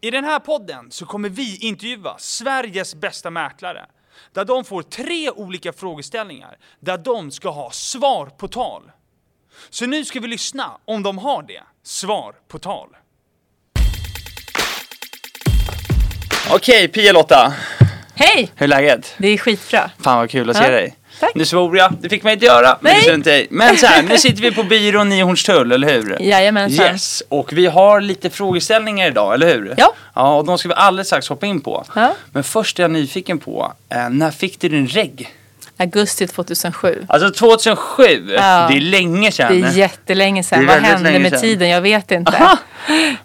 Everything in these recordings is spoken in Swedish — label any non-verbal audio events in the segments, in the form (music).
I den här podden så kommer vi intervjua Sveriges bästa mäklare. Där de får tre olika frågeställningar där de ska ha svar på tal. Så nu ska vi lyssna om de har det. Svar på tal. Okej, Pia Lotta. Hej! Hur är läget? Det är skitbra. Fan vad kul att se Ja, dig. tack. Nu svor jag, det fick mig inte göra, men Nej. det strunt i. Men så här, (laughs) nu sitter vi på byrån i Hornstull, eller hur? Jajamensan. Yes, och vi har lite frågeställningar idag, eller hur? Ja. Ja, och de ska vi alldeles strax hoppa in på. Ja. Men först är jag nyfiken på, eh, när fick du din regg? Augusti 2007. Alltså 2007, Ja. det är länge sedan. Det är jättelänge Det sedan. är Vad väldigt hände länge med sedan. tiden? Jag vet inte. Aha.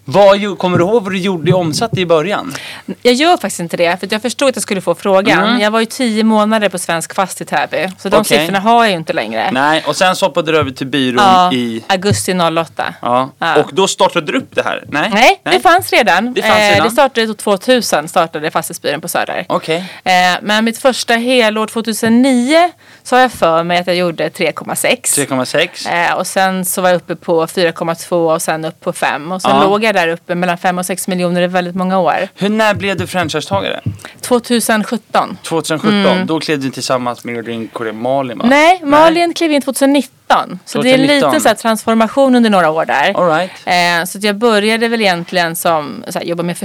Vad, gjo- kommer du ihåg vad du gjorde i omsatt i början? Jag gör faktiskt inte det, för att jag förstod att jag skulle få frågan. Mm. Jag var ju tio månader på Svensk Fast i Täby, så de Okej. siffrorna har jag ju inte längre. Nej, och sen så hoppade du över till byrån Ja, i... Augusti 08. Ja. Ja. Och då startade du upp det här? Nej? Nej, det fanns redan. Eh, Det fanns redan. det startade 2000, startade Fastighetsbyrån på Söder. Okej. Eh, men mitt första helår 2009 så har jag för mig att jag gjorde 3,6. 3,6. Eh, och sen så var jag uppe på 4,2 och sen upp på 5. Och sen Ja. låg jag där uppe mellan 5 och 6 miljoner i väldigt många år. Hur när blev du franchisetagare? 2017. 2017, då klev du tillsammans med din kollega Malin va? Mm. Nej, Malin klev in 2019. Så det är en 2019. liten så här, transformation under några år där. All right. Eh, så att jag började väl egentligen som så här, jobba med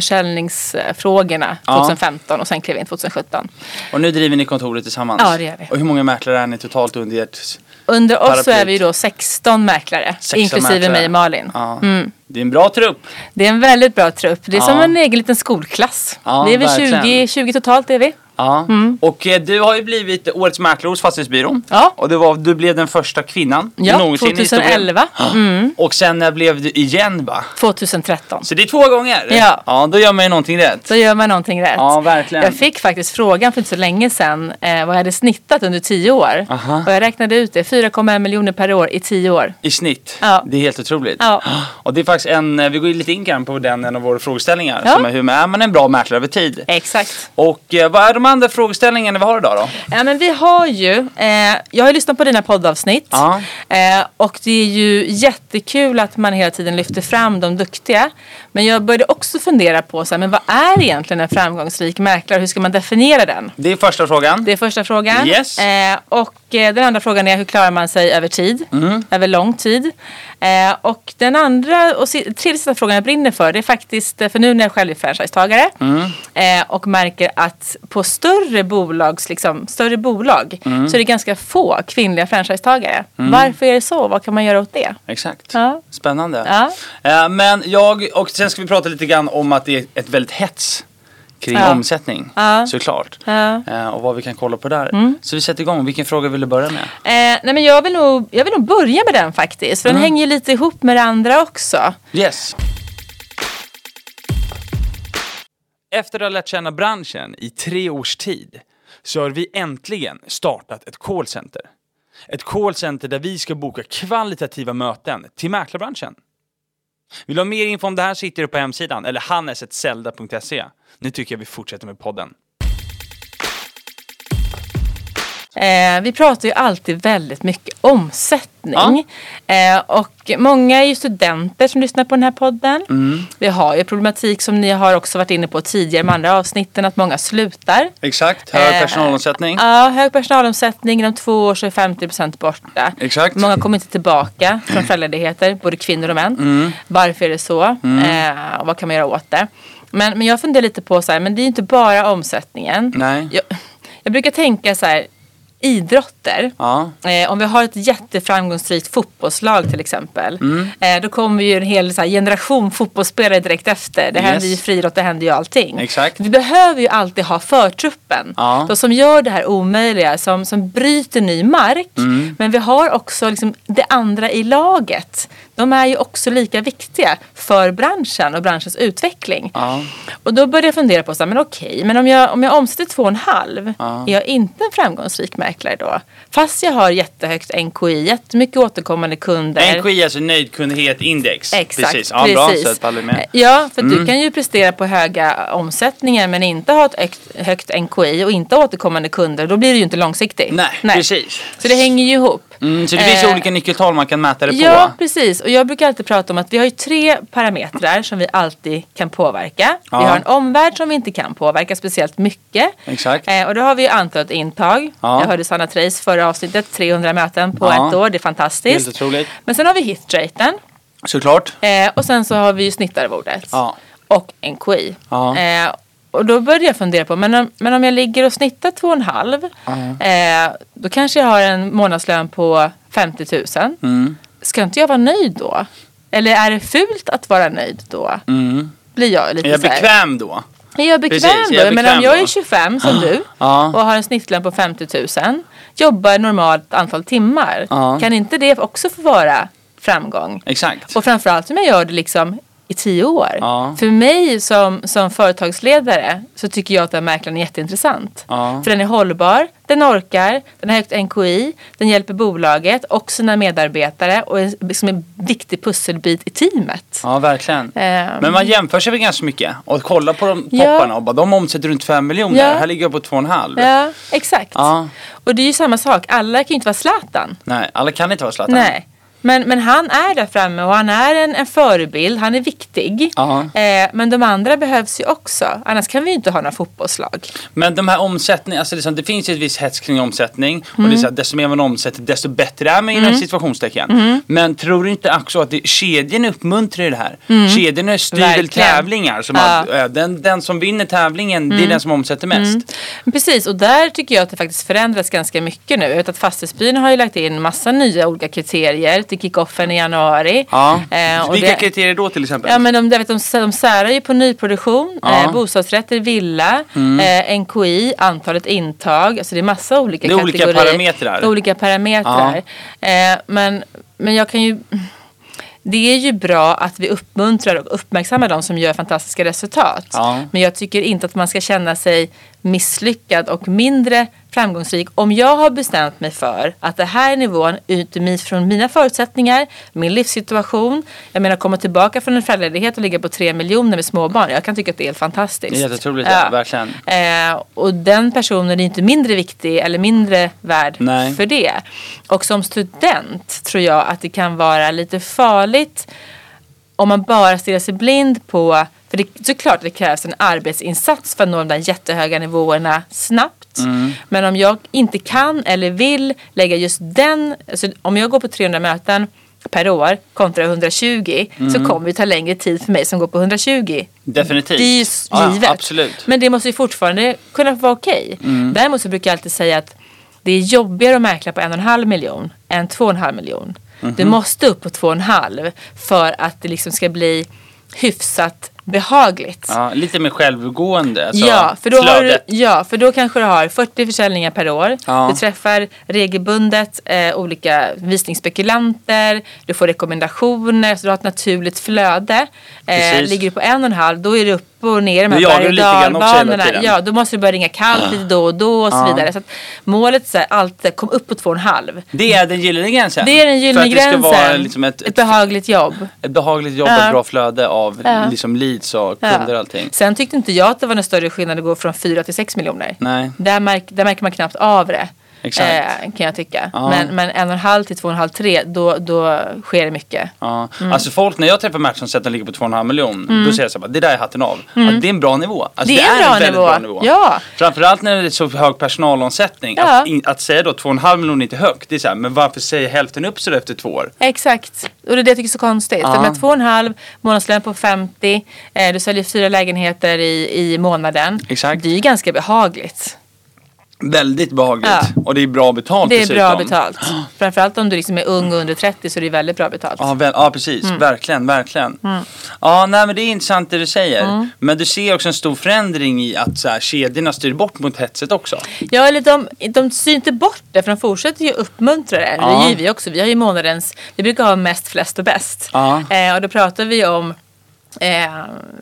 försäljningsfrågorna Ja. 2015 och sen klev jag in 2017. Och nu driver ni kontoret tillsammans? Ja, det gör vi. Och hur många mäklare är ni totalt under ert? Under oss så Paraplyt. är vi ju då 16 mäklare, 16 inklusive mäklare. mig och Malin. Mm. Ja. Det är en bra trupp. Det är en väldigt bra trupp. Det är som Ja. en egen liten skolklass. Ja, det är verkligen. väl 20, 20 totalt är vi. Ja. Och eh, du har ju blivit årets mäklare hos Fastighetsbyrån. Mm. Ja. Och det var, du blev den första kvinnan Ja, Mm, någonsin i historien. (gasps) 2011. Och sen när blev du igen va? 2013. Så det är två gånger? Ja. Ja, då gör man ju någonting rätt. Då gör man någonting rätt. Ja, verkligen. Jag fick faktiskt frågan för inte så länge sedan eh, vad jag hade snittat under 10 år. Aha. Och jag räknade ut det, 4,1 miljoner per år i 10 år. I snitt. Ja. Det är helt otroligt. Ja. Och det är faktiskt en, eh, vi går ju lite in grann på den, en av våra frågeställningar. Ja. Som är hur är man en bra mäklare över tid? Exakt. Och eh, vad är de andra frågeställningarna vi har idag då? Ja, men vi har ju, eh, jag har ju lyssnat på dina poddavsnitt. Ja. Eh, och det är ju jättekul att man hela tiden lyfter fram de duktiga. Men jag började också fundera på så här, men vad är egentligen en framgångsrik mäklare? Hur ska man definiera den? Det är första frågan. Det är första frågan. Yes. Eh, och eh, den andra frågan är hur klarar man sig över tid? Över lång tid. Eh, och den andra och si- tredje sista frågan jag brinner för det är faktiskt, eh, för nu när jag själv är franchisetagare eh, och märker att på större, bolags, liksom, större bolag så är det ganska få kvinnliga franchisetagare. Varför är det så? Vad kan man göra åt det? Exakt. Ja. Spännande. Ja. Eh, Men jag, och sen ska vi prata lite grann om att det är ett väldigt hets kring Ja. omsättning Ja. Mm. såklart. Ja. Eh, Och vad vi kan kolla på där. Så vi sätter igång, vilken fråga vill du börja med? Eh, nej men jag, vill nog, jag vill nog börja med den faktiskt. För den hänger ju lite ihop med det andra också. Yes. Efter att ha lärt känna branschen i tre års tid så har vi äntligen startat ett callcenter. Ett callcenter där vi ska boka kvalitativa möten till mäklarbranschen. Vill du ha mer info om det här sitter du på hemsidan eller hannesetzelda.se. Nu tycker jag vi fortsätter med podden. Eh, vi pratar ju alltid väldigt mycket omsättning. Eh, och många är ju studenter som lyssnar på den här podden. Vi har ju problematik som ni har också varit inne på tidigare med andra avsnitten att många slutar. Exakt, Eh, Ja, hög personalomsättning. Inom två år så är 50% borta. Exakt. Mm. Många kommer inte tillbaka från föräldraledigheter, både kvinnor och män. Varför är det så? Mm. Eh, och vad kan man göra åt det? Men, men jag funderar lite på så här, men det är ju inte bara omsättningen. Nej. Jag, jag brukar tänka så här, idrotter. Ja. Eh, om vi har ett jätteframgångsrikt fotbollslag till exempel. Mm. Eh, då kommer ju en hel så här, generation fotbollsspelare direkt efter. Det Yes. händer ju friidrott, det händer ju allting. Exakt. Vi behöver ju alltid ha förtruppen. Ja. De som gör det här omöjliga, som, som bryter ny mark. Mm. Men vi har också liksom, det andra i laget. De är ju också lika viktiga för branschen och branschens utveckling. Ja. Och då började jag fundera på, så här, men okej, men om jag, om jag omsätter två och en halv, är jag inte en framgångsrik mäklare då? Fast jag har jättehögt NKI, jättemycket återkommande kunder. NKI, alltså nöjdkundhetindex. Exakt, Eh, precis. Ja, Bra, så att alla är med. Mm. Ja, för du kan ju prestera på höga omsättningar men inte ha ett högt, högt NKI och inte ha återkommande kunder. Då blir det ju inte långsiktigt. Nej, precis. Så det hänger ju ihop. Mm, så det finns ju Eh, olika nyckeltal man kan mäta det på. Ja, precis. Och jag brukar alltid prata om att vi har ju tre parametrar som vi alltid kan påverka. Ja. Vi har en omvärld som vi inte kan påverka speciellt mycket. Exakt. Eh, och då har vi ju antalet intag. Ja. Jag hörde Sanna Treis förra avsnittet, 300 möten på Ja. ett år. Det är fantastiskt. Helt otroligt. Men sen har vi hitraten. Såklart. Eh, och sen så har vi ju snittarvodet. Ja. Och NKI. Ja. Eh, och då började jag fundera på, men om, men om jag ligger och snittar 2,5 eh, då kanske jag har en månadslön på 50 000. Mm. Ska inte jag vara nöjd då? Eller är det fult att vara nöjd då? Blir jag lite Är Mm. jag så här- bekväm då? är jag bekväm Precis, är jag då? Jag menar bekväm om jag då? är 25 som du (gasps) Ja. och har en snittlön på 50 000, jobbar normalt antal timmar, Ja. kan inte det också få vara framgång? Exakt. Och framförallt om jag gör det liksom i tio år. Ja. För mig som, som företagsledare så tycker jag att den här mäklaren är jätteintressant. Ja. För den är hållbar, den orkar, den har högt NKI, den hjälper bolaget och sina medarbetare och är liksom en viktig pusselbit i teamet. Ja, verkligen. Ehm. Men man jämför sig väl ganska mycket och kollar på de Ja. topparna och bara de omsätter runt 5 miljoner. Ja. Här ligger jag på 2,5. Ja, exakt. Ja. Och det är ju samma sak, alla kan ju inte vara Zlatan. Nej, alla kan inte vara Zlatan. Nej. Men, men han är där framme och han är en, en förebild, han är viktig. Ja. Eh, men de andra behövs ju också, annars kan vi ju inte ha några fotbollslag. Men de här omsättningarna, alltså liksom, det finns ju ett visst hets kring omsättning. Och det är så att desto mer man omsätter, desto bättre är man inom Mm. situationstecken. Men tror du inte också att det, kedjorna uppmuntrar ju det här? Kedjorna styr väl Mm. Verkligen. tävlingar. Som Ja. Mm. att, eh, den, den som vinner tävlingen, det är den som omsätter mest. Precis, och där tycker jag att det faktiskt förändras ganska mycket nu. Jag vet att Fastighetsbyn har ju lagt in massa nya olika kriterier till kickoffen i januari. Ja. Eh, och Vilka det- kriterier då till exempel? Ja men de, jag vet, de, de särar ju på nyproduktion, Ja. Mm. eh, bostadsrätter, villa, eh, NKI, antalet intag. Alltså det är massa olika Det är olika kategorier. parametrar. Det är Olika parametrar. Eh, men, men jag kan ju... Det är ju bra att vi uppmuntrar och uppmärksammar de som gör fantastiska resultat. Ja. Men jag tycker inte att man ska känna sig misslyckad och mindre framgångsrik. Om jag har bestämt mig för att det här är nivån utifrån mina förutsättningar, min livssituation. Jag menar komma tillbaka från en föräldraledighet och ligga på tre miljoner med småbarn. Jag kan tycka att det är helt fantastiskt. Det är jätteotroligt, ja, verkligen. Eh, och den personen är inte mindre viktig eller mindre värd Nej. för det. Och som student tror jag att det kan vara lite farligt om man bara stirrar sig blind på, för det, såklart det krävs en arbetsinsats för att nå de där jättehöga nivåerna snabbt. Men om jag inte kan eller vill lägga just den, alltså om jag går på 300 möten per år kontra 120 så kommer det ta längre tid för mig som går på 120 Definitivt. det är ju s- Ja, givet. absolut. Mm. Men det måste ju fortfarande kunna vara okej. Däremot så brukar jag alltid säga att det är jobbigare att mäkla på en och en halv miljon än två och en halv miljon. Mhm. Du måste upp på två och en halv för att det liksom ska bli hyfsat behagligt. Ja, lite mer självgående. alltså, Så Ja för, då har du, flödet. ja, för då kanske du har 40 försäljningar per år. Ja. Du träffar regelbundet eh, olika visningsspekulanter. Du får rekommendationer. Så du har ett naturligt flöde. Eh, Precis. ligger du på en och en halv då är du upp och ner i de Då här jagar du berg och lite grann också hela dalbanorna. tiden. Ja, då måste du börja ringa kallt lite då och då och så Ja. vidare. Så att målet är alltid kom upp på två och en halv. Det är den gyllene gränsen. Det är den gyllene För att det gränsen. ska vara liksom ett, ett ett, behagligt jobb. ett behagligt jobb och Ja. ett bra flöde av Ja. liksom leads och kunder och allting. Sen tyckte inte jag att det var någon större skillnad att gå från 4 till 6 miljoner. Nej. Där, märk, där märker man knappt av det. Exakt. eh, kan jag tycka. Ja. Men, men en och en halv till två och en halv, tre, då, då sker det mycket. Ja. Mm. Alltså folk, när jag träffar match som säger att de ligger på 2,5 miljoner, då säger jag så här, bara, det där är hatten av. Att det är en bra nivå. Alltså, Mm. Det är en bra väldigt nivå. bra nivå. Ja. Framförallt när det är så hög personalomsättning. Ja. Att, in, att säga då 2,5 miljoner är inte högt, det är så här, men varför säger hälften upp sig då efter två år? Exakt, och det är det jag tycker är så konstigt. Ja. Ja. Med två och en halv, månadslön på 50, eh, du säljer fyra lägenheter i, i månaden. Exakt. Det är ju ganska behagligt. Väldigt behagligt. Ja. Och det är bra betalt Det är dessutom. bra (gasps) betalt. Framförallt om du liksom är ung och under 30 så är det väldigt bra betalt. Ja, väl, ja precis, Mm. verkligen, verkligen. Ja, nej, men det är intressant det du säger. Mm. Men du ser också en stor förändring i att så här, kedjorna styr bort mot hetset också. Ja, eller de, de syr inte bort det för de fortsätter ju uppmuntra det. Ja. Det gör vi också. Vi har ju månadens, vi brukar ha mest, flest och bäst. Ja. Eh, och då pratar vi om eh,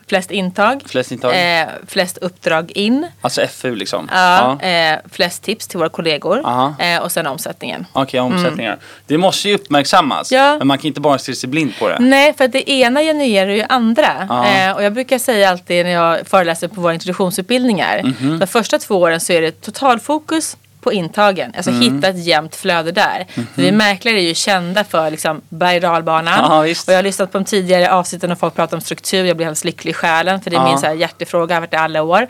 flest intag, Flest intag. Eh, flest uppdrag in, Alltså FU liksom. ja. eh, flest tips till våra kollegor Ja. eh, och sen omsättningen. Okej, omsättningar. Det måste ju uppmärksammas. Mm. Ja. Mm. Men man kan inte bara stirra sig blind på det. Nej, för att det ena genererar ju andra. Ja. Eh, och jag brukar säga Mhm. alltid när jag föreläser på våra introduktionsutbildningar. De första två åren så är det totalfokus på intagen. Alltså Mm. hitta ett jämnt flöde där. Mhm. För vi mäklare är ju kända för liksom, berg och dalbanan. Ja, visst. Och jag har lyssnat på de tidigare avsnitten och folk pratar om struktur. Jag blir alldeles lycklig i själen för det är Ja. min så här, hjärtefråga, jag har varit det alla år.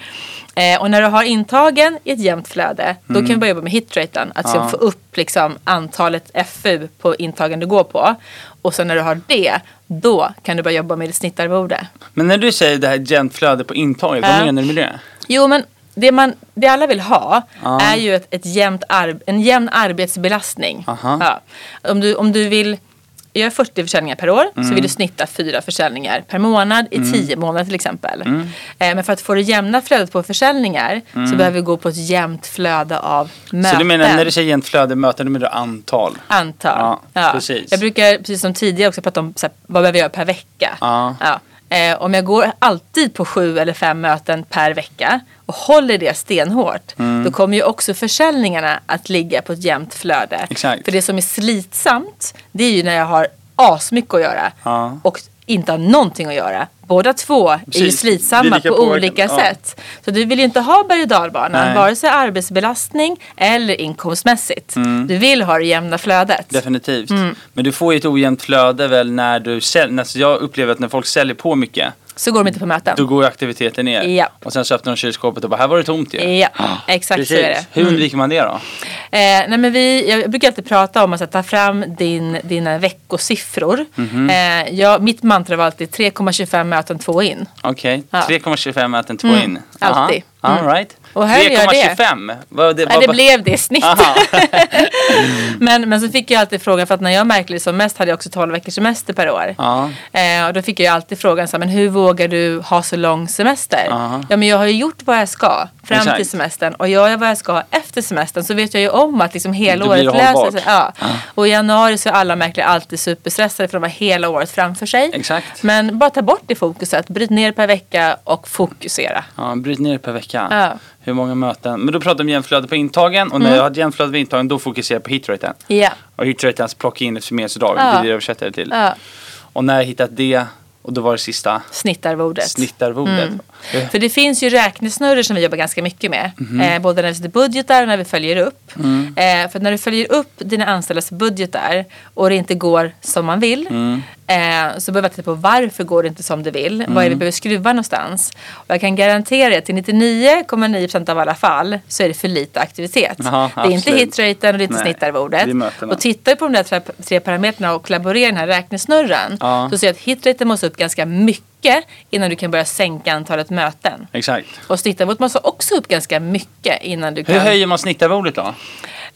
Eh, och när du har intagen i ett jämnt flöde, då kan vi börja jobba med hitraten. Att liksom, få upp liksom, antalet FU på intagen du går på. Och sen när du har det, då kan du börja jobba med ditt snittarvode. Men när du säger det här gentflöde på intaget, vad Ja. menar du med det? Jo, men det, man, det alla vill ha Ja. är ju ett, ett jämnt arb- en jämn arbetsbelastning. Aha. Ja. Om, du, om du vill göra 40 försäljningar per år Mm. så vill du snitta fyra försäljningar per månad i 10 månader till exempel. Mm. Eh, men för att få det jämna flödet på försäljningar så behöver vi gå på ett jämnt flöde av möten. Så du menar när du säger gentflöde möten, då menar du antal? Antal. Ja, precis. Jag brukar, precis som tidigare, också prata om så här, vad behöver jag göra per vecka. Ja. Eh, om jag går alltid på sju eller fem möten per vecka och håller det stenhårt, Mm. då kommer ju också försäljningarna att ligga på ett jämnt flöde. Exakt. För det som är slitsamt, det är ju när jag har asmycket att göra Ja. och inte har någonting att göra. Båda två är ju Precis. Det är slitsamma lika på påverkan. olika Ja. sätt. Så du vill ju inte ha berg och Nej. dalbanan, vare sig arbetsbelastning eller inkomstmässigt. Mm. Du vill ha det jämna flödet. Definitivt. Mm. Men du får ju ett ojämnt flöde väl när du säljer. Alltså jag upplever att när folk säljer på mycket, Så går de inte på möten. då går ju aktiviteten ner. Ja. Och sen så öppnar de kylskåpet och bara, här var det tomt ju. Ja, (gasps) exakt så är det. Mm. Hur undviker man det då? Eh, nej men vi, jag brukar alltid prata om att så här, ta fram din, dina veckosiffror. Mhm. eh, jag, mitt mantra var alltid 3,25 möten, två in. Okej, Ja. Mm. 3,25 möten, 2 in. alltid. Mm. Aha. All right. Och här gör det. 3,25? Vad- Nej, vad- det blev det i snitt. Aha. (laughs) Men, men så fick jag alltid frågan, för att när jag märkte det som mest hade jag också 12 veckors semester per år. Ja. Eh, och då fick jag ju alltid frågan, så här, men hur vågar du ha så lång semester? Ja. Ja men jag har ju gjort vad jag ska fram Exakt. till semestern och gör jag vad jag ska efter semestern så vet jag ju om att liksom hela Då året blir det hållbart. löser sig. Ja. Och i januari så är alla märkliga alltid superstressade för de har hela året framför sig. Exakt. Men bara ta bort det fokuset, bryt ner per vecka och fokusera. Ja, bryt ner det per vecka. Ja. Mm. Hur många möten? Men då pratar vi om jämflöde på intagen och när jag har ett jämflöde på intagen då fokuserar jag på hitraten. Ja. Och hitraten är alltså plocka in ett förmedlingsdag, det Ja. är det jag översätter det till. Ja. Och när jag hittat det, och då var det sista Snittarvodet. snittarvodet. Mm. Eh, Mhm. För det finns ju räknesnurror som vi jobbar ganska mycket med. Eh, både när vi sätter budgetar och när vi följer upp. Mm. Eh, för att när du följer upp dina anställdas budgetar och det inte går som man vill. Mm. Eh, så behöver jag titta på varför går det inte som du vill. Vad är Mm. det vi behöver skruva någonstans. Och jag kan garantera att till 99,9% av alla fall så är det för lite aktivitet. Jaha, det är inte absolut. hitraten och det är inte Nej, det är snittarvodet. mötena. Och tittar vi på de där tre, tre parametrarna och kollaborerar i den här räknesnurran. Ja. Så ser jag att hitraten måste upp ganska mycket innan du kan börja sänka antalet möten. Exakt. Och snittarvot måste också upp ganska mycket innan du Hur kan... höjer man snittarvodet då?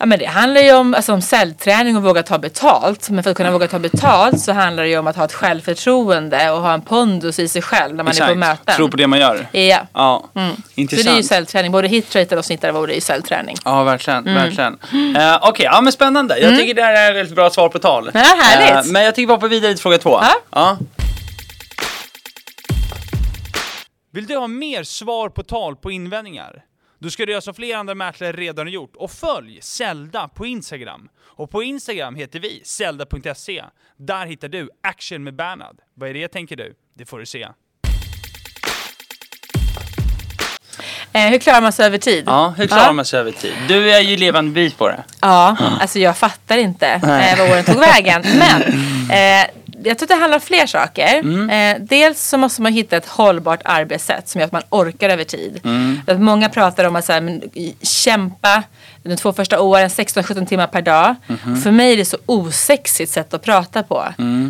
Ja, men det handlar ju om, alltså, om säljträning och våga ta betalt. Men för att kunna våga ta betalt så handlar det ju om att ha ett självförtroende och ha en pondus i sig själv när man är på möten. Tro på det man gör. Ja. Ja, Mm. Så det är ju intressant. säljträning. Både hitraten och snittarvot är ju säljträning. Ja, verkligen. Mm. verkligen. Eh, Okej, ja, men spännande. Jag tycker det här är ett bra svar på tal. Ja, härligt. Eh, men jag tycker vi hoppar vidare till fråga två. Ja. Vill du ha mer svar på tal på invändningar? Då ska du göra som flera andra mäklare redan har gjort och följ Zelda på Instagram. Och på Instagram heter vi zelda.se. Där hittar du Action med Bernhard. Vad är det tänker du? Det får du se. Eh, hur klarar man sig över tid? Ja, hur klarar man sig över tid? Du är ju levande bevis på det. Ja, alltså jag fattar inte eh, vad åren tog vägen. Men eh, jag tror att det handlar om fler saker. Eh, dels så måste man hitta ett hållbart arbetssätt som gör att man orkar över tid. Att många pratar om att så här, men, i- kämpa de två första åren 16-17 timmar per dag. För mig är det så osexigt sätt att prata på.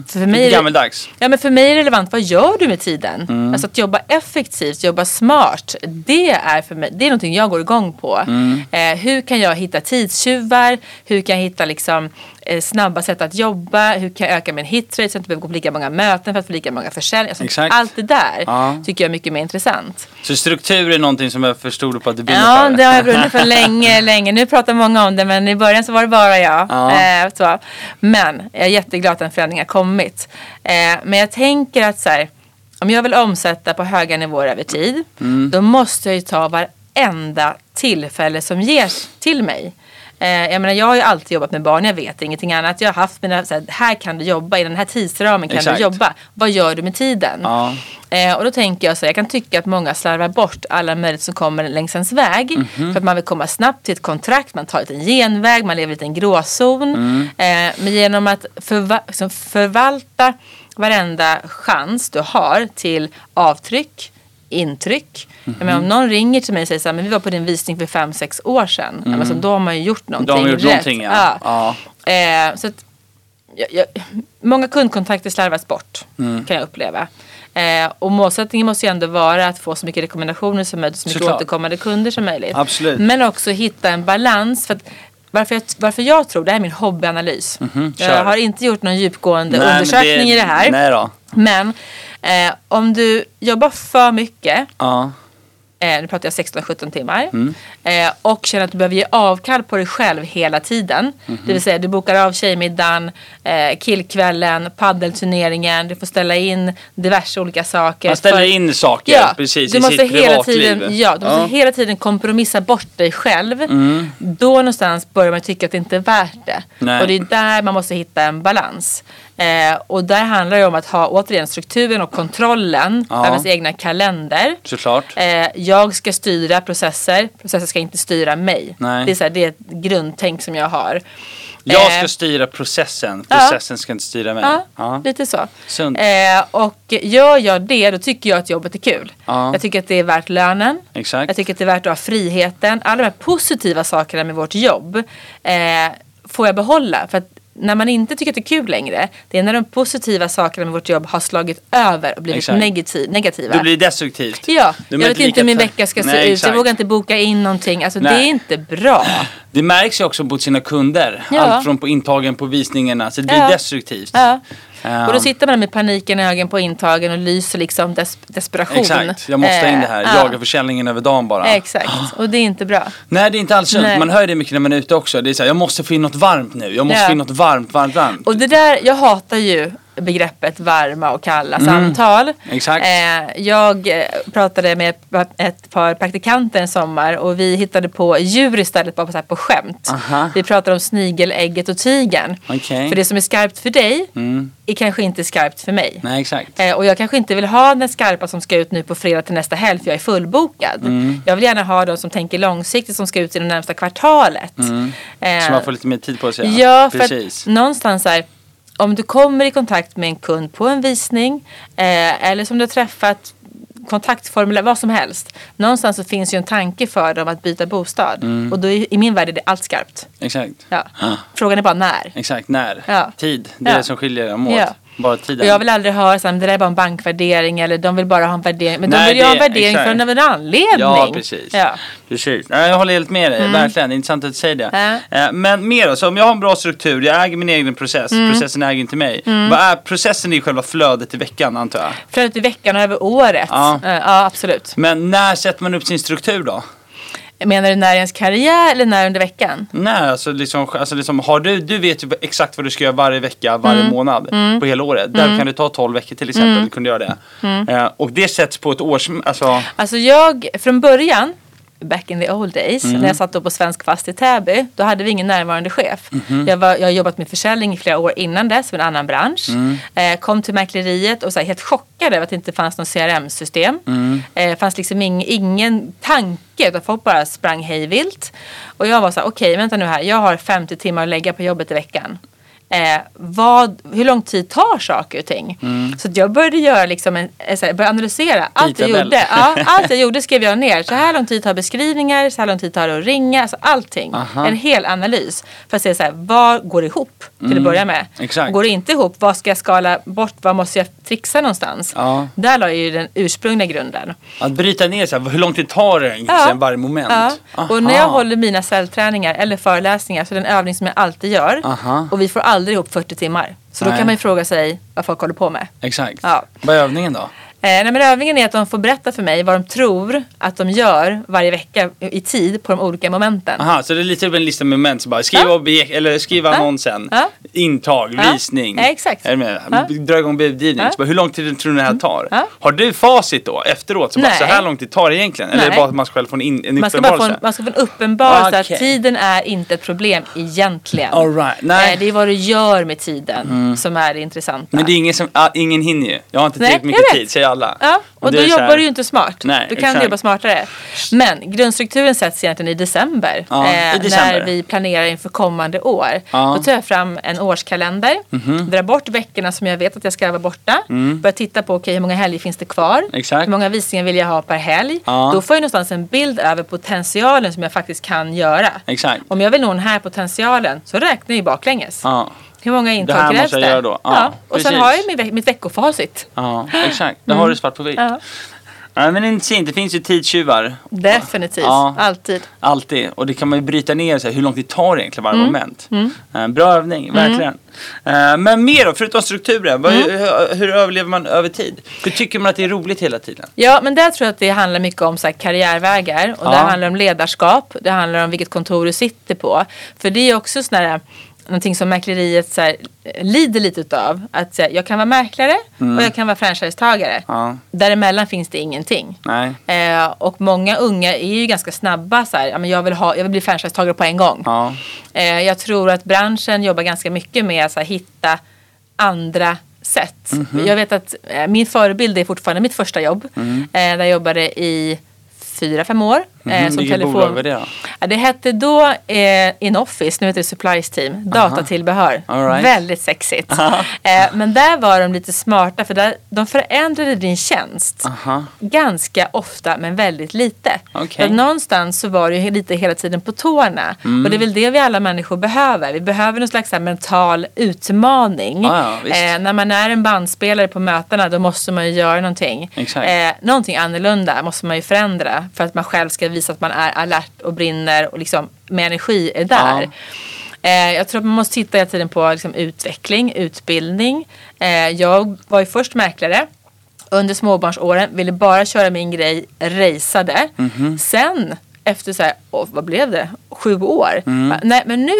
För mig är det- Gammeldags. Ja, men för mig är det relevant, vad gör du med tiden? Mm. Alltså att jobba effektivt, jobba smart. Det är för mig, det är någonting jag går igång på. Mm. Eh, hur kan jag hitta tidstjuvar? Hur kan jag hitta liksom, eh, snabba sätt att jobba? Hur kan jag öka min hitrate så att jag inte behöver gå på lika många möten för att få lika många försäljningar? Alltså, Exakt. Allt det där Ja. tycker jag är mycket mer intressant. Så struktur är någonting som jag förstod på att du brinner Ja, för. det har jag (laughs) brunnit för länge, länge. Nu pratar många om det, men i början så var det bara jag. Ja. Eh, så. Men jag är jätteglad att den förändringen har kommit. Eh, men jag tänker att så här, om jag vill omsätta på höga nivåer över tid, Mm. då måste jag ju ta varenda tillfälle som ges till mig. Eh, jag menar jag har ju alltid jobbat med barn, jag vet ingenting annat. Jag har haft mina, så här, här kan du jobba, i den här tidsramen kan Exakt. du jobba. Vad gör du med tiden? Ja. Eh, och då tänker jag så här, jag kan tycka att många slarvar bort alla möjligheter som kommer längs ens väg. För att man vill komma snabbt till ett kontrakt, man tar en liten genväg, man lever i en liten gråzon. Eh, men genom att förva- liksom förvalta varenda chans du har till avtryck, intryck. Jag menar, om någon ringer till mig och säger så här, men vi var på din visning för fem sex år sedan. Ja, men så, då har man ju gjort någonting De har gjort rätt. någonting ja. Ja. ja. Eh, så att, jag, jag, många kundkontakter slarvas bort Mm. kan jag uppleva. Eh, och målsättningen måste ju ändå vara att få så mycket rekommendationer som möjligt, så mycket Såklart. återkommande kunder som möjligt. Absolut. Men också hitta en balans. För att, varför, jag, varför jag tror, det här är min hobbyanalys. Mhm, kör. Jag har inte gjort någon djupgående Nej, men undersökning i det här. Nej då. Men eh, om du jobbar för mycket Ja. eh, nu pratar jag 16-17 timmar, Mm. eh, och känner att du behöver ge avkall på dig själv hela tiden. Mhm. Det vill säga du bokar av tjejmiddagen, eh, killkvällen, paddelturneringen, du får ställa in diverse olika saker. Man ställer för- in saker Ja, precis du i måste sitt hela privatliv. tiden, ja, du måste hela tiden kompromissa bort dig själv. Då någonstans börjar man tycka att det inte är värt det. Mm. Nej. Och det är där man måste hitta en balans. Eh, och där handlar det om att ha återigen strukturen och kontrollen Ja. över sin egna kalender. Såklart. Eh, jag ska styra processer, processer ska inte styra mig. Nej. Det, är så här, det är ett grundtänk som jag har. Jag eh, ska styra processen. ja. Processen ska inte styra mig. Ja, Ja. lite så. Sunt. Eh, och gör jag det, då tycker jag att jobbet är kul. Ja. Jag tycker att det är värt lönen. Exakt. Jag tycker att det är värt att ha friheten. Alla de här positiva sakerna med vårt jobb eh, får jag behålla. För att när man inte tycker att det är kul längre, det är när de positiva sakerna med vårt jobb har slagit över och blivit Exakt. negati- negativa. Du blir destruktivt. Ja, Du jag är vet inte hur min lika- vecka ska se Nej, ut. exakt. Jag vågar inte boka in någonting. Alltså det Nej. är inte bra. Det märks ju också på sina kunder. Ja. Allt från på intagen på visningarna. Så det blir Ja. destruktivt. Ja. Ehm, Och då sitter man med paniken i ögonen på intagen och lyser liksom des- desperation. Exakt, jag måste ha in det här. Eh, Jaga försäljningen över dagen bara. ja, Exakt, och det är inte bra. Nej det är inte alls sunt. Nej. Man hör det mycket när man är ute också. Det är så här, jag måste få in något varmt nu. Jag måste Ja. få in något varmt, varmt, varmt. Och det där, jag hatar ju begreppet varma och kalla samtal. Mm. Exakt. Eh, jag eh, pratade med ett par praktikanter en sommar och vi hittade på djur istället bara på, så här, på skämt. Aha. Vi pratade om snigelägget och tigern. Okej. Mm. För det som är skarpt för dig är kanske inte skarpt för mig. Nej exakt. Eh, och jag kanske inte vill ha den skarpa som ska ut nu på fredag till nästa helg för jag är fullbokad. Mm. Jag vill gärna ha de som tänker långsiktigt som ska ut i det närmsta kvartalet. Mm. Eh, Så man får lite mer tid på sig. Ja, för precis. att någonstans så här, om du kommer i kontakt med en kund på en visning eh, eller som du har träffat kontaktformulär, vad som helst. Någonstans så finns ju en tanke för dem att byta bostad. Mm. Och då är, i min värld är det allt skarpt. Exakt. Ja. Frågan är bara när. Exakt, när? Ja. Tid. Det är Ja. det som skiljer dem åt. Ja. Bara tiden. Och jag vill aldrig höra såhär, men det där är bara en bankvärdering eller de vill bara ha en värdering. Men Nej, de vill ju ha en det- värdering exakt. för en av en anledning. Ja, precis. Ja. Mm. precis. Nej, jag håller helt med dig, verkligen. Det är intressant att du säger det. Ja. Eh, Men mer då, så om jag har en bra struktur, jag äger min egen process, Mm. processen äger inte mig. Vad är processen i själva flödet i veckan antar jag? Flödet i veckan och över året. Ja. Eh, ja, absolut. Men när sätter man upp sin struktur då? Menar du när i ens karriär eller när under veckan? Nej, alltså liksom, alltså liksom har du, du vet ju exakt vad du ska göra varje vecka, varje Mm. månad på hela året. Där kan det ta 12 veckor till exempel, du kunde göra det. Mm. Eh, och det sätts på ett års, alltså, Alltså jag, från början, back in the old days, när jag satt då på Svensk Fast i Täby, då hade vi ingen närvarande chef. Jag, var, jag har jobbat med försäljning i flera år innan dess, med en annan bransch. Eh, kom till mäkleriet och så här, helt chockad över att det inte fanns något CRM-system. Eh, fanns liksom ing, ingen tanke, utan folk bara sprang hejvilt. Och jag var så här, okej vänta nu här, jag har 50 timmar att lägga på jobbet i veckan. Eh, vad, hur lång tid tar saker och ting? Så att jag började göra liksom en, en så här, började analysera allt jag Tidtabell. gjorde. Ja, allt jag gjorde skrev jag ner. Så här lång tid tar beskrivningar, så här lång tid tar det att ringa, alltså allting. Aha. En hel analys för att se så här, vad går ihop till att börja med? Mm, exakt. Går det inte ihop, vad ska jag skala bort, vad måste jag trixa någonstans? Ja. Där la jag ju den ursprungliga grunden. att bryta ner så här, hur lång tid tar det Ja. egentligen varje moment? Ja. Och när jag Aha. håller mina cellträningar eller föreläsningar, så är det en övning som jag alltid gör. Aha. Och vi får aldrig ihop 40 timmar. Så Nej. då kan man ju fråga sig vad folk håller på med. Exakt. Ja. Vad är övningen då? Eh, nej, men övningen är att de får berätta för mig vad de tror att de gör varje vecka i tid på de olika momenten. Aha, så det är lite av en lista med moment. Så bara skriv Ja. objekt, eller skriv annonsen, Ja. intag, Ja. visning. Ja, exakt. Är du med? Ja. Dra igång budgivning. Ja. Mm. Så bara, Hur lång tid tror du det här tar? Ja. Har du facit då efteråt? Så, bara, Nej. så här lång tid tar det egentligen? Eller är det Nej. bara att man själv får en, in, en Man ska, bara få en, uppenbarelse? man ska få en uppenbarelse Okej. att tiden är inte ett problem egentligen. All right. Nej. Mm. Eh, det är vad du gör med tiden som är det intressanta. Men det är ingen som, ah, ingen hinner ju. Jag har inte Nej, tillräckligt jag mycket vet. tid, säger alla. Ja, och, det då är så jobbar här- du ju inte smart. Nej, då kan exakt. du jobba smartare. Men grundstrukturen sätts egentligen i december. eh, Ja, i december. När vi planerar inför kommande år. Ja. Mhm. Då tar jag fram en årskalender. Drar bort veckorna som jag vet att jag ska vara borta. Börjar titta på okay, hur många helger finns det kvar. Mm. Exakt. Hur många visningar vill jag ha per helg. Ja. Då får jag någonstans en bild över potentialen som jag faktiskt kan göra. Exakt. Om jag vill nå den här potentialen så räknar jag ju baklänges. Ja. Hur många Det här intag måste krävs jag det? göra då. Ja, Och sen precis. har jag min ve- mitt veckofacit. Ja, exakt. Då har du svart på vitt. Ja. Nej, men det är inte sent. Det finns ju tidstjuvar. Definitivt, Ja. alltid. Alltid. Och det kan man ju bryta ner. Så här, hur lång tid tar det egentligen Mm. varje moment? Eh, bra övning, verkligen. Eh, men mer då, förutom strukturen. Vad, Mm. hur, hur överlever man över tid? Hur tycker man att det är roligt hela tiden? Ja, men där tror jag att det handlar mycket om så här, karriärvägar och Ja. det handlar om ledarskap. Det handlar om vilket kontor du sitter på. För det är också sån här, eh, någonting som mäkleriet så här, eh, lider lite utav. Att så här, jag kan vara mäklare och jag kan vara franchisetagare. Mm. Ja. Däremellan finns det ingenting. Nej. Eh, och många unga är ju ganska snabba så här, ja, men jag, vill ha, jag vill bli franchisetagare på en gång. Ja. Eh, jag tror att branschen jobbar ganska mycket med att så här, hitta andra sätt. Mhm. Jag vet att eh, min förebild är fortfarande mitt första jobb. Eh, där jag jobbade i fyra, fem år. eh, Mhm, vilket bolag var det då? Ja, det hette då eh, Inoffice, nu heter det Supplies Team. Datatillbehör. All right. Väldigt sexigt. eh, men där var de lite smarta för där, de förändrade din tjänst Aha. ganska ofta men väldigt lite. Okej. Mm. För att någonstans så var det ju lite hela tiden på tårna. Och det är väl det vi alla människor behöver. Vi behöver någon slags så här mental utmaning. Ja, ja, visst. eh, när man är en bandspelare på mötena då måste man ju göra någonting. Exakt. Eh, någonting annorlunda måste man ju förändra för att man själv ska visa att man är alert och brinner och liksom med energi är där. Ja. Eh, jag tror att man måste titta hela tiden på liksom, utveckling, utbildning. Eh, jag var ju först mäklare. Under småbarnsåren ville bara köra min grej, rejsade. Sen efter så här, åh, vad blev det? Sju år. Bara, Nej men nu,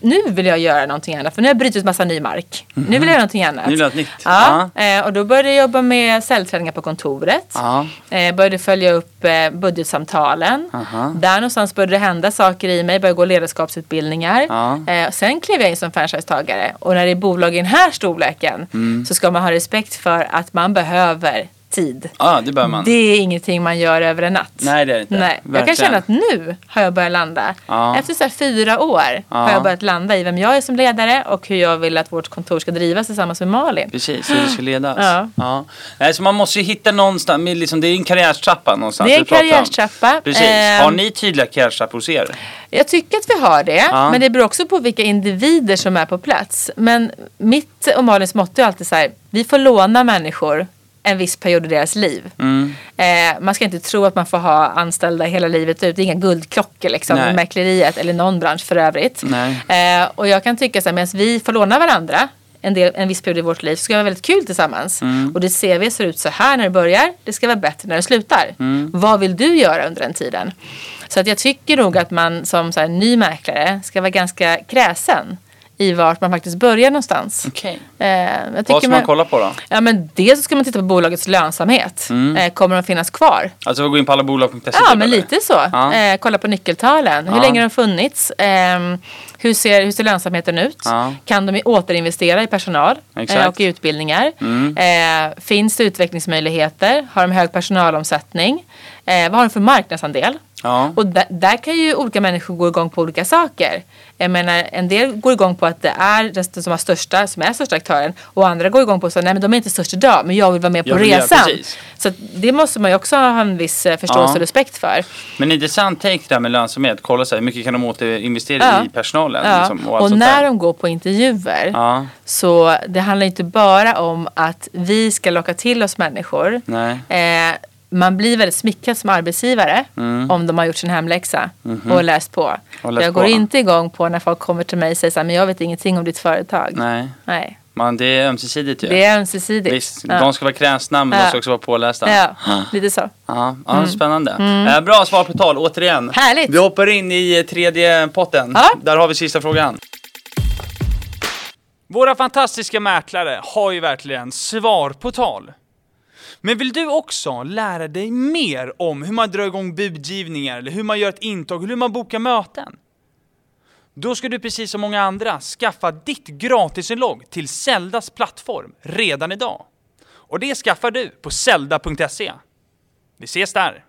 nu vill jag göra någonting annat för nu har jag brutit massa ny mark. Nu vill jag göra någonting annat. Nu vill jag ha ett nytt. Ja, eh, och då började jag jobba med säljträningar på kontoret. Ja. Eh, började följa upp eh, budgetsamtalen. Aha. Där någonstans började det hända saker i mig. Började gå ledarskapsutbildningar. Ja. Eh, och sen klev jag in som franchisetagare. Och när det är bolag i den här storleken Mm. så ska man ha respekt för att man behöver tid. Ja, det bör man. Det är ingenting man gör över en natt. Nej, det är det inte. Nej. Jag kan Verkligen. känna att nu har jag börjat landa. Ja. Efter så här fyra år har Ja. jag börjat landa i vem jag är som ledare och hur jag vill att vårt kontor ska drivas tillsammans med Malin. Precis, hur det ska ledas. Ja. Ja. Nej, så man måste ju hitta någonstans, men liksom, det är en karriärstrappa någonstans. Det är en vi pratar om. karriärstrappa. Precis. Ehm. Har ni tydliga karriärstrappor hos er? Jag tycker att vi har det, Ja. men det beror också på vilka individer som är på plats. Men mitt och Malins motto är alltid så här, vi får låna människor en viss period i deras liv. Mm. Eh, man ska inte tro att man får ha anställda hela livet ut. Det är inga guldklockor liksom, Nej. i mäkleriet eller någon bransch för övrigt. Nej. Eh, och jag kan tycka så här, medan vi får låna varandra en, del, en viss period i vårt liv så ska vi ha väldigt kul tillsammans. Mm. Och ditt CV ser ut så här när du börjar, det ska vara bättre när du slutar. Mm. Vad vill du göra under den tiden? Så att jag tycker nog att man som så här, ny mäklare ska vara ganska kräsen i vart man faktiskt börjar någonstans. Okej. Eh, jag tycker Vad ska man kolla på då? Ja, men dels så ska man titta på bolagets lönsamhet. Mm. Eh, kommer de finnas kvar? Alltså gå in på allabolag.se? Ja, typ, men eller? lite så. Ja. Eh, kolla på nyckeltalen. Hur Ja. länge har de funnits? Ehm, hur, ser, hur ser lönsamheten ut? Ja. Kan de i- återinvestera i personal Exakt. Mm. eh, och i utbildningar? Eh, finns det utvecklingsmöjligheter? Har de hög personalomsättning? Eh, vad har de för marknadsandel? Ja. Och där, där kan ju olika människor gå igång på olika saker. Jag menar, en del går igång på att det är den som, har största, som är största aktören och andra går igång på att nej men de är inte störst idag men jag vill vara med på Jag vill göra resan. precis. Så att det måste man ju också ha en viss eh, förståelse Ja. och respekt för. Men intressant take det där med lönsamhet. Kolla så här, hur mycket kan de återinvestera Ja. i personalen? Ja. liksom, och allt sånt när där. de går på intervjuer Ja, så det handlar inte bara om att vi ska locka till oss människor. nej. Eh, man blir väldigt smickrad som arbetsgivare om de har gjort sin hemläxa och läst på. Mm. Mhm. Och läst jag på. går inte igång på när folk kommer till mig och säger så här, men jag vet ingenting om ditt företag. Nej. Nej. Man, det är ömsesidigt ju. Det är ömsesidigt. Visst, ja. de ska vara kräsna men de Ja. ska också vara pålästa. ja, lite så. Ja, ja, Spännande. Eh, bra svar på tal, återigen. Härligt. Vi hoppar in i eh, tredje potten. Ja. Där har vi sista frågan. Våra fantastiska mäklare har ju verkligen svar på tal. Men vill du också lära dig mer om hur man drar igång budgivningar, eller hur man gör ett intag, hur man bokar möten? Då ska du precis som många andra skaffa ditt gratisinlogg till Zeldas plattform redan idag. Och det skaffar du på zelda.se. Vi ses där!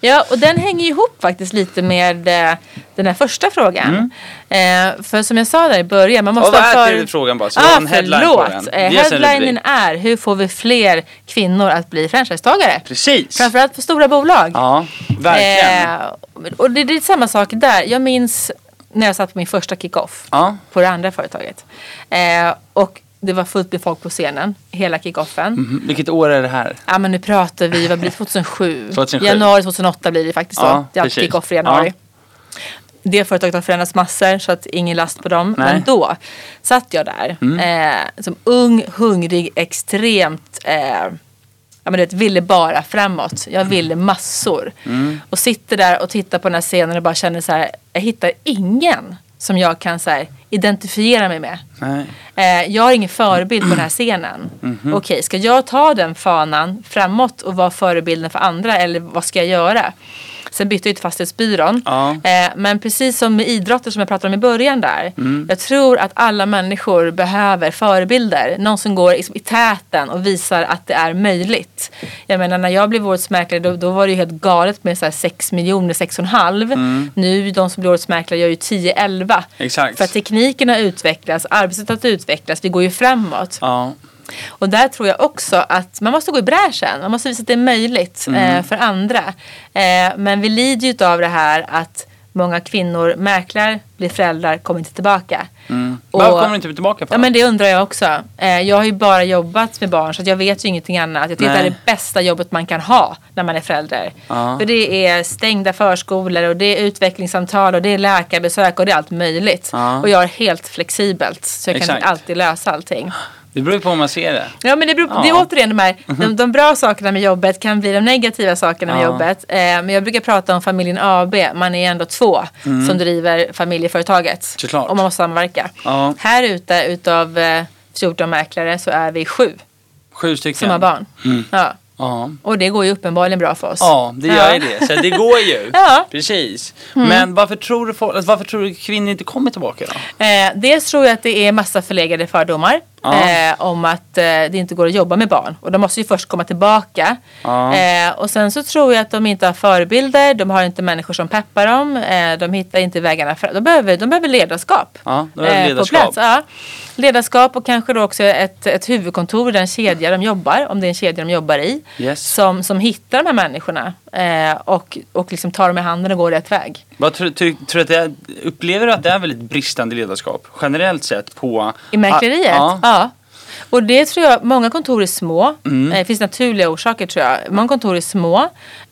Ja, och den hänger ihop faktiskt lite med eh, den här första frågan. Eh, för som jag sa där i början, man måste Mm. Och vad ha är för... tredje frågan bara? Så vi har Ah, en headline på förlåt. den. Eh, Ge oss en Headlinen rubrik. är Hur får vi fler kvinnor att bli franchisetagare? Precis! Framförallt för stora bolag. Ja, verkligen. Eh, och det, det är samma sak där. Jag minns när jag satt på min första kick-off Ja. på det andra företaget. Eh, och det var fullt med folk på scenen, hela kick-offen. Mm, Vilket år är det här? Ja men nu pratar vi, vad blir det, 2007? 2007. Januari 2008 blir det faktiskt då. Ja, det är precis. kick-off i januari. Det företaget har förändrats massor så att ingen last på dem. Nej. Mm. Men då satt jag där eh, som ung, hungrig, extremt eh, Ja, men du vet, ville bara framåt. Mm. Jag ville massor. Och sitter där och tittar på den här scenen och bara känner så här. Jag hittar ingen som jag kan så här, identifiera mig med. Nej. Eh, jag har ingen förebild på den här scenen. Mhm. Okej, ska jag ta den fanan framåt och vara förebilden för andra eller vad ska jag göra? Sen bytte jag ju till fastighetsbyrån. Ja. Eh, men precis som med idrotter som jag pratade om i början där. Mm. Jag tror att alla människor behöver förebilder. Någon som går liksom i täten och visar att det är möjligt. Jag menar när jag blev årets mäklare då, då var det ju helt galet med så här 6 miljoner, 6,5. Nu de som blir årets mäklare gör ju 10-11. Mm. Exakt. För att tekniken har utvecklats, arbetssättet har utvecklats, vi går ju framåt. Ja. Och där tror jag också att man måste gå i bräschen, man måste visa att det är möjligt Mm. eh, för andra. Eh, men vi lider ju av det här att många kvinnor mäklar, blir föräldrar, kommer inte tillbaka. Och- Varför Mm. kommer du inte tillbaka på Ja men det undrar jag också. Eh, jag har ju bara jobbat med barn så att jag vet ju ingenting annat. Jag tycker Nej. att det är det bästa jobbet man kan ha när man är förälder. Ja. För det är stängda förskolor och det är utvecklingssamtal och det är läkarbesök och det är allt möjligt. Ja. Och jag är helt flexibelt så jag kan Exakt. inte alltid lösa allting. det beror ju på hur man ser det. Ja men det, beror på, Ja. Mm-hmm. det är återigen de här, de, de bra sakerna med jobbet kan bli de negativa sakerna med Ja. jobbet. Eh, men jag brukar prata om familjen AB, man är ändå två som driver familjeföretaget. Mm. Såklart. Och man måste samverka. Ja. Här ute utav eh, 14 mäklare så är vi sju Sju stycken. som har barn. Ja. Ja. Och det går ju uppenbarligen bra för oss. Mm. ja, det gör ju det. Så det går ju. (laughs) Ja. Mm. Precis. Men varför tror, du folk, alltså, varför tror du kvinnor inte kommer tillbaka då? Eh, dels tror jag att det är massa förlegade fördomar Ja. eh, om att eh, det inte går att jobba med barn. Och de måste ju först komma tillbaka. Ja. Eh, och sen så tror jag att de inte har förebilder, de har inte människor som peppar dem, eh, de hittar inte vägarna fram. De behöver, de behöver ledarskap. Ja, de behöver ledarskap. Eh, På plats. Ja. Ledarskap och kanske då också ett, ett huvudkontor i den kedja de jobbar, om det är en kedja de jobbar i. Yes. Som, som hittar de här människorna eh, och, och liksom tar dem i handen och går rätt väg. Vad tror, tror, tror du att det är, upplever du att det är väldigt bristande ledarskap generellt sett på... I mäkleriet? Ah, Ja. Ja. Och det tror jag, många kontor är små. Mm. Eh, Det finns naturliga orsaker tror jag. Många kontor är små.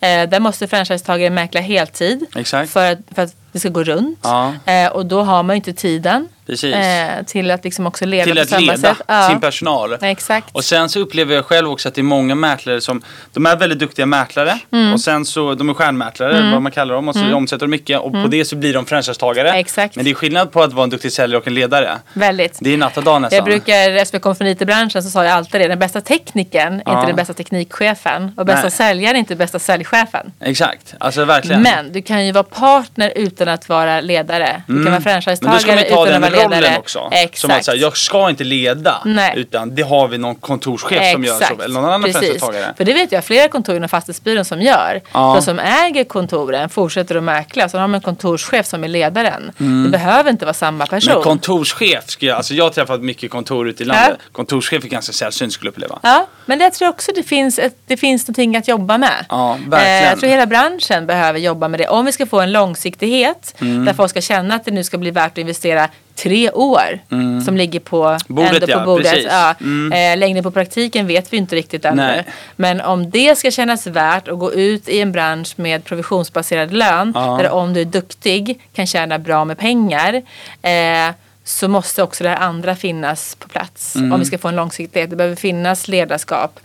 Eh, där måste franchisetagare mäkla heltid. Exakt. För att, för att det ska gå runt. Ja. Eh, och då har man ju inte tiden. Precis. eh, till att liksom också leda till på att samma leda sätt. Ja. sin personal. Exakt. Och sen så upplever jag själv också att det är många mäklare som, de är väldigt duktiga mäklare Mm. och sen så, de är stjärnmäklare, vad man kallar dem, och så omsätter de mycket och på det så blir de franchisetagare. Mm. Exakt. Men det är skillnad på att vara en duktig säljare och en ledare. Väldigt. Det är alltså- natt och dag nästan. Jag brukar, SBK kom från IT-branschen så sa jag alltid det, den bästa teknikern är Ja. inte den bästa teknikchefen och bästa Nej. säljaren är inte bästa säljchefen. Exakt, alltså verkligen. Men du kan ju vara partner utan att vara ledare. Du Mm. kan vara Men då franchisetagare ska utan man ju att ta vara den rollen ledare. också. Som att Exakt. säga, jag ska inte leda. Nej. Utan det har vi någon kontorschef som gör så. Eller någon annan franchisetagare. För det vet jag flera kontor inom fastighetsbyrån som gör. Ja. De som äger kontoren fortsätter att mäkla. Så de har man en kontorschef som är ledaren. Det behöver inte vara samma person. Mm. Men kontorschef, ska jag, alltså jag har träffat mycket kontor ute i landet. Kontorschef är ganska sällsynt skulle jag uppleva. Ja, men det tror jag också det finns, ett, det finns någonting att jobba med. Eh, Ja, verkligen. jag tror hela branschen behöver jobba med det. Om vi ska få en långsiktighet Mm. där folk ska känna att det nu ska bli värt att investera tre år som ligger på Mm. Bordet, ändå på ja, bordet. precis. Mm. Ja, eh, längden på praktiken vet vi inte riktigt ännu. Nej. Men om det ska kännas värt att gå ut i en bransch med provisionsbaserad lön Ja. där om du är duktig kan tjäna bra med pengar eh, så måste också det här andra finnas på plats. Mm. Om vi ska få en långsiktighet. Det behöver finnas ledarskap.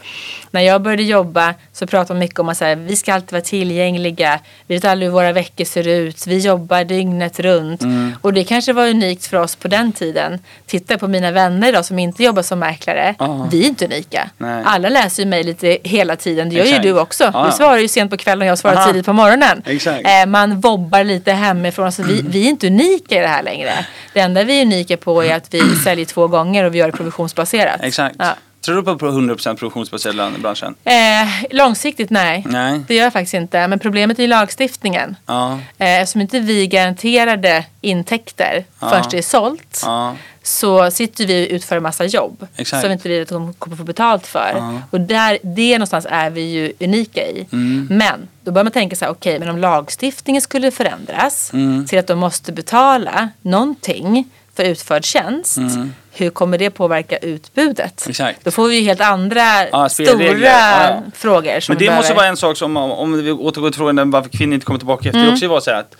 När jag började jobba så pratade man mycket om att så här, vi ska alltid vara tillgängliga. Vi vet aldrig hur våra veckor ser ut. Vi jobbar dygnet runt. Mm. Och det kanske var unikt för oss på den tiden. Titta på mina vänner idag som inte jobbar som mäklare. Ja. Vi är inte unika. Nej. Alla läser ju mig lite hela tiden. Det gör Exakt. ju du också. Ja, ja. Du svarar ju sent på kvällen och jag svarar Aha. tidigt på morgonen. Exakt. Eh, man vobbar lite hemifrån. Alltså vi, vi är inte unika i det här längre. Det enda vi är unika på är att vi säljer två gånger och vi gör det provisionsbaserat. Exakt. Ja. Tror du på 100% provisionsbaserad lön i branschen? Eh, långsiktigt nej. Nej. Det gör jag faktiskt inte. Men problemet är ju lagstiftningen. Ja. Eh, eftersom inte vi garanterade intäkter Ja. först det är sålt. Ja. så sitter vi och utför en massa jobb Exakt. som inte vi vet om vi kommer få betalt för. Och där, det någonstans är vi ju unika i. Mm. Men då börjar man tänka så här, okej, men om lagstiftningen skulle förändras Mm. till att de måste betala någonting för utförd tjänst, hur kommer det påverka utbudet? Mm. Exakt. Då får vi ju helt andra Ja, stora spelregler. Ja, ja. frågor. Som Men det vi måste behöver- vara en sak som, om- om vi återgår till frågan om varför kvinnor inte kommer tillbaka efter, Mm. det också var så här att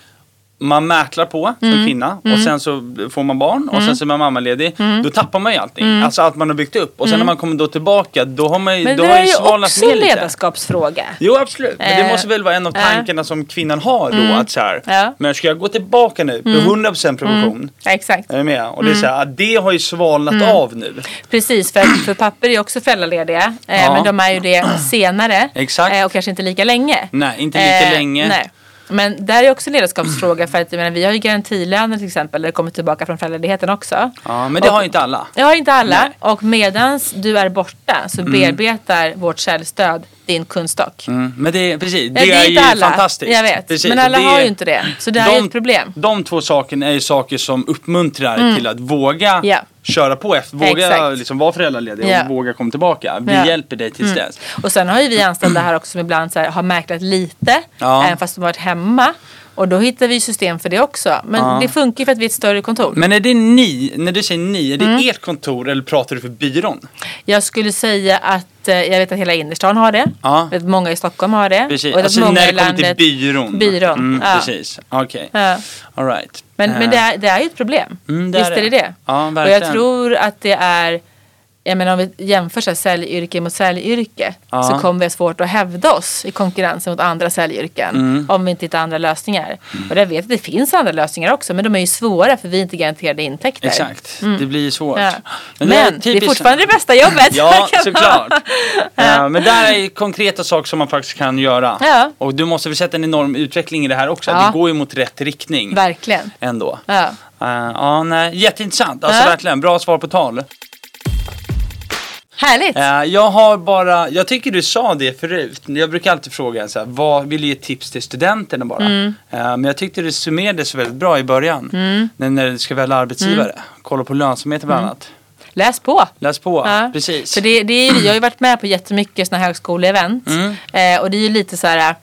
man mäklar på som kvinna och Mm. sen så får man barn och sen så är man mammaledig. Då tappar man ju allting. Alltså allt man har byggt upp. Och sen när man kommer då tillbaka då har man ju, Mm. men då det har där man är ju ju svalnat också ner en lite. ledarskapsfråga. Jo absolut, men det Eh, måste väl vara en av eh. Mm. tankarna som kvinnan har då. Att så här, Ja. Mm. Men ska jag gå tillbaka nu på 100% provision? Ja, exakt. Är du med? Och det är så Mm. här, att det har ju svalnat av nu. Precis, för, (clears throat) för papper är ju också föräldralediga. Eh, Ja. Men de är ju (clears throat) det senare. Exakt. Eh, och kanske inte lika länge. Eh, Nej, inte lika länge. Nej. Men där är också en ledarskapsfråga. För att jag menar, vi har ju garantilöner till exempel. Eller kommer tillbaka från föräldraledigheten också. Ja, men det Och- har ju inte alla. Det har inte alla. Nej. Och medans du är borta så bearbetar vårt säljstöd din kundstock. Mm. Men det, precis, det, Ja, är, ju inte alla. fantastiskt. Jag vet. Precis. Men och alla det- har ju inte det. Så det här är ett problem. Mm. De två sakerna är ju saker som uppmuntrar till att våga Ja. köra på efter, våga Exakt. liksom vara föräldraledig Ja. och våga komma tillbaka. Vi Ja. Mm. hjälper dig tills dess. Och sen har ju vi anställda här också som ibland så här, har mäklat lite. Ja. Även fast de har varit hemma. Och då hittar vi ju system för det också. Men det funkar ju för att vi är ett större kontor. Men är det ni, när du säger ni, är det Mm. ert kontor eller pratar du för byrån? Jag skulle säga att eh, jag vet att hela innerstan har det. Ja. Jag vet att många i Stockholm har det. Precis. Och jag vet Alltså att många när det i kommer landet. till byrån. Byrån, Mm, ja. Precis, okej. Ja. All right. Men, men Eh, det, är, det är ju ett problem. Mm, det Visst är är det det. det. Ja, och verkligen. jag tror att det är, jag menar om vi jämför så här, säljyrke mot säljyrke Ja. så kommer vi ha svårt att hävda oss i konkurrensen mot andra säljyrken Mm. om vi inte hittar andra lösningar. Och jag vet jag att det finns andra lösningar också men de är ju svåra för vi är inte garanterade intäkter. Eh, Exakt, det blir ju svårt. Mm. Ja. Men, det är det är typiskt- fortfarande det bästa (laughs) jobbet. Ja, kan man- såklart. Eh, Men där är ju konkreta saker som man faktiskt kan göra. Ja. Och du måste väl sätta en enorm utveckling i det här också. Ja. Det går ju mot rätt riktning Verkligen. ändå. Ja. Eh, ja, nej, jätteintressant. Alltså Ja. verkligen, bra svar på tal. Härligt. Eh, jag har bara, jag tycker du sa det förut. Jag brukar alltid fråga så här, vad vill du ge tips till studenterna bara? Mm. Eh, men jag tyckte du summerade så väldigt bra i början. När, när du ska välja arbetsgivare. Mm. Kolla på lönsamheten bland annat. Läs på. Läs på, Mm. Ja. precis. För det, det är, ju- jag har ju varit med på jättemycket sådana högskoleevent. Mm. Eh, och det är ju lite så här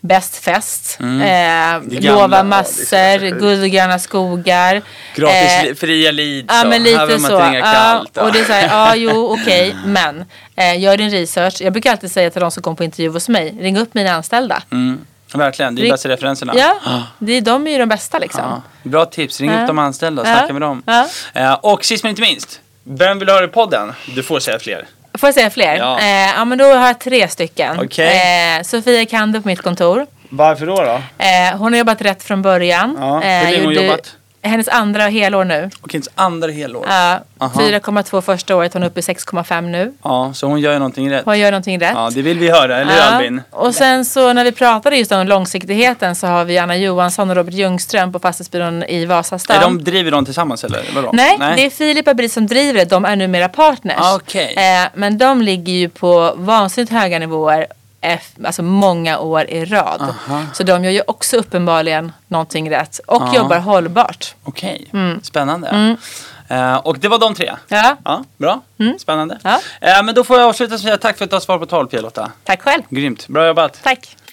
bäst fest, eh, gamla, ja, Mm. det lova är massor, så guld och gröna skogar. Gratis Eh, li- fria leads Ja och men här lite vill man så. dricka Ja, kallt. och det är så här, ja jo (laughs) okej men eh, gör din research. Jag brukar alltid säga till de som kommer på intervju hos mig, ring upp mina anställda. Mm, verkligen, det är Ring- bästa referenserna. Ja, det är, de är ju de bästa liksom. Ja, Bra tips, ring upp Ja. de anställda och Ja. snacka med dem. Ja. Eh, Och sist men inte minst, vem vill höra i podden? Du får säga fler. Får jag säga fler? Ja. Eh, ja men då har jag tre stycken. Okej. Eh, Sofia Kander på mitt kontor. Varför då? då? Eh, hon har jobbat rätt från början. Eh, Ja, hur länge har hon gjorde- jobbat? Hennes andra helår nu. Eh, Och hennes andra helår. Ja, Aha. 4,2 första året, hon är uppe i 6,5 nu. Ja, så hon gör ju någonting rätt. Hon gör någonting rätt. Ja, det vill vi höra, eller hur Ja. Albin? Och sen så när vi pratade just om långsiktigheten så har vi Anna Johansson och Robert Ljungström på Fastighetsbyrån i Vasastan. Är de, driver de tillsammans eller? Vadå? Nej, det är Filip och Britt som driver det. De är numera partners. Ah, okej. eh, men de ligger ju på vansinnigt höga nivåer F, alltså många år i rad. Så de gör ju också uppenbarligen någonting rätt och Ja. jobbar hållbart. Okej, spännande. Eh, och det var de tre? Mm. Ja. Mm. Ja, bra. Spännande. Ja. Eh, men då får jag avsluta med att säga tack för att du har svarat på tal, Pia-Lotta. Tack själv. Grymt, bra jobbat. Tack.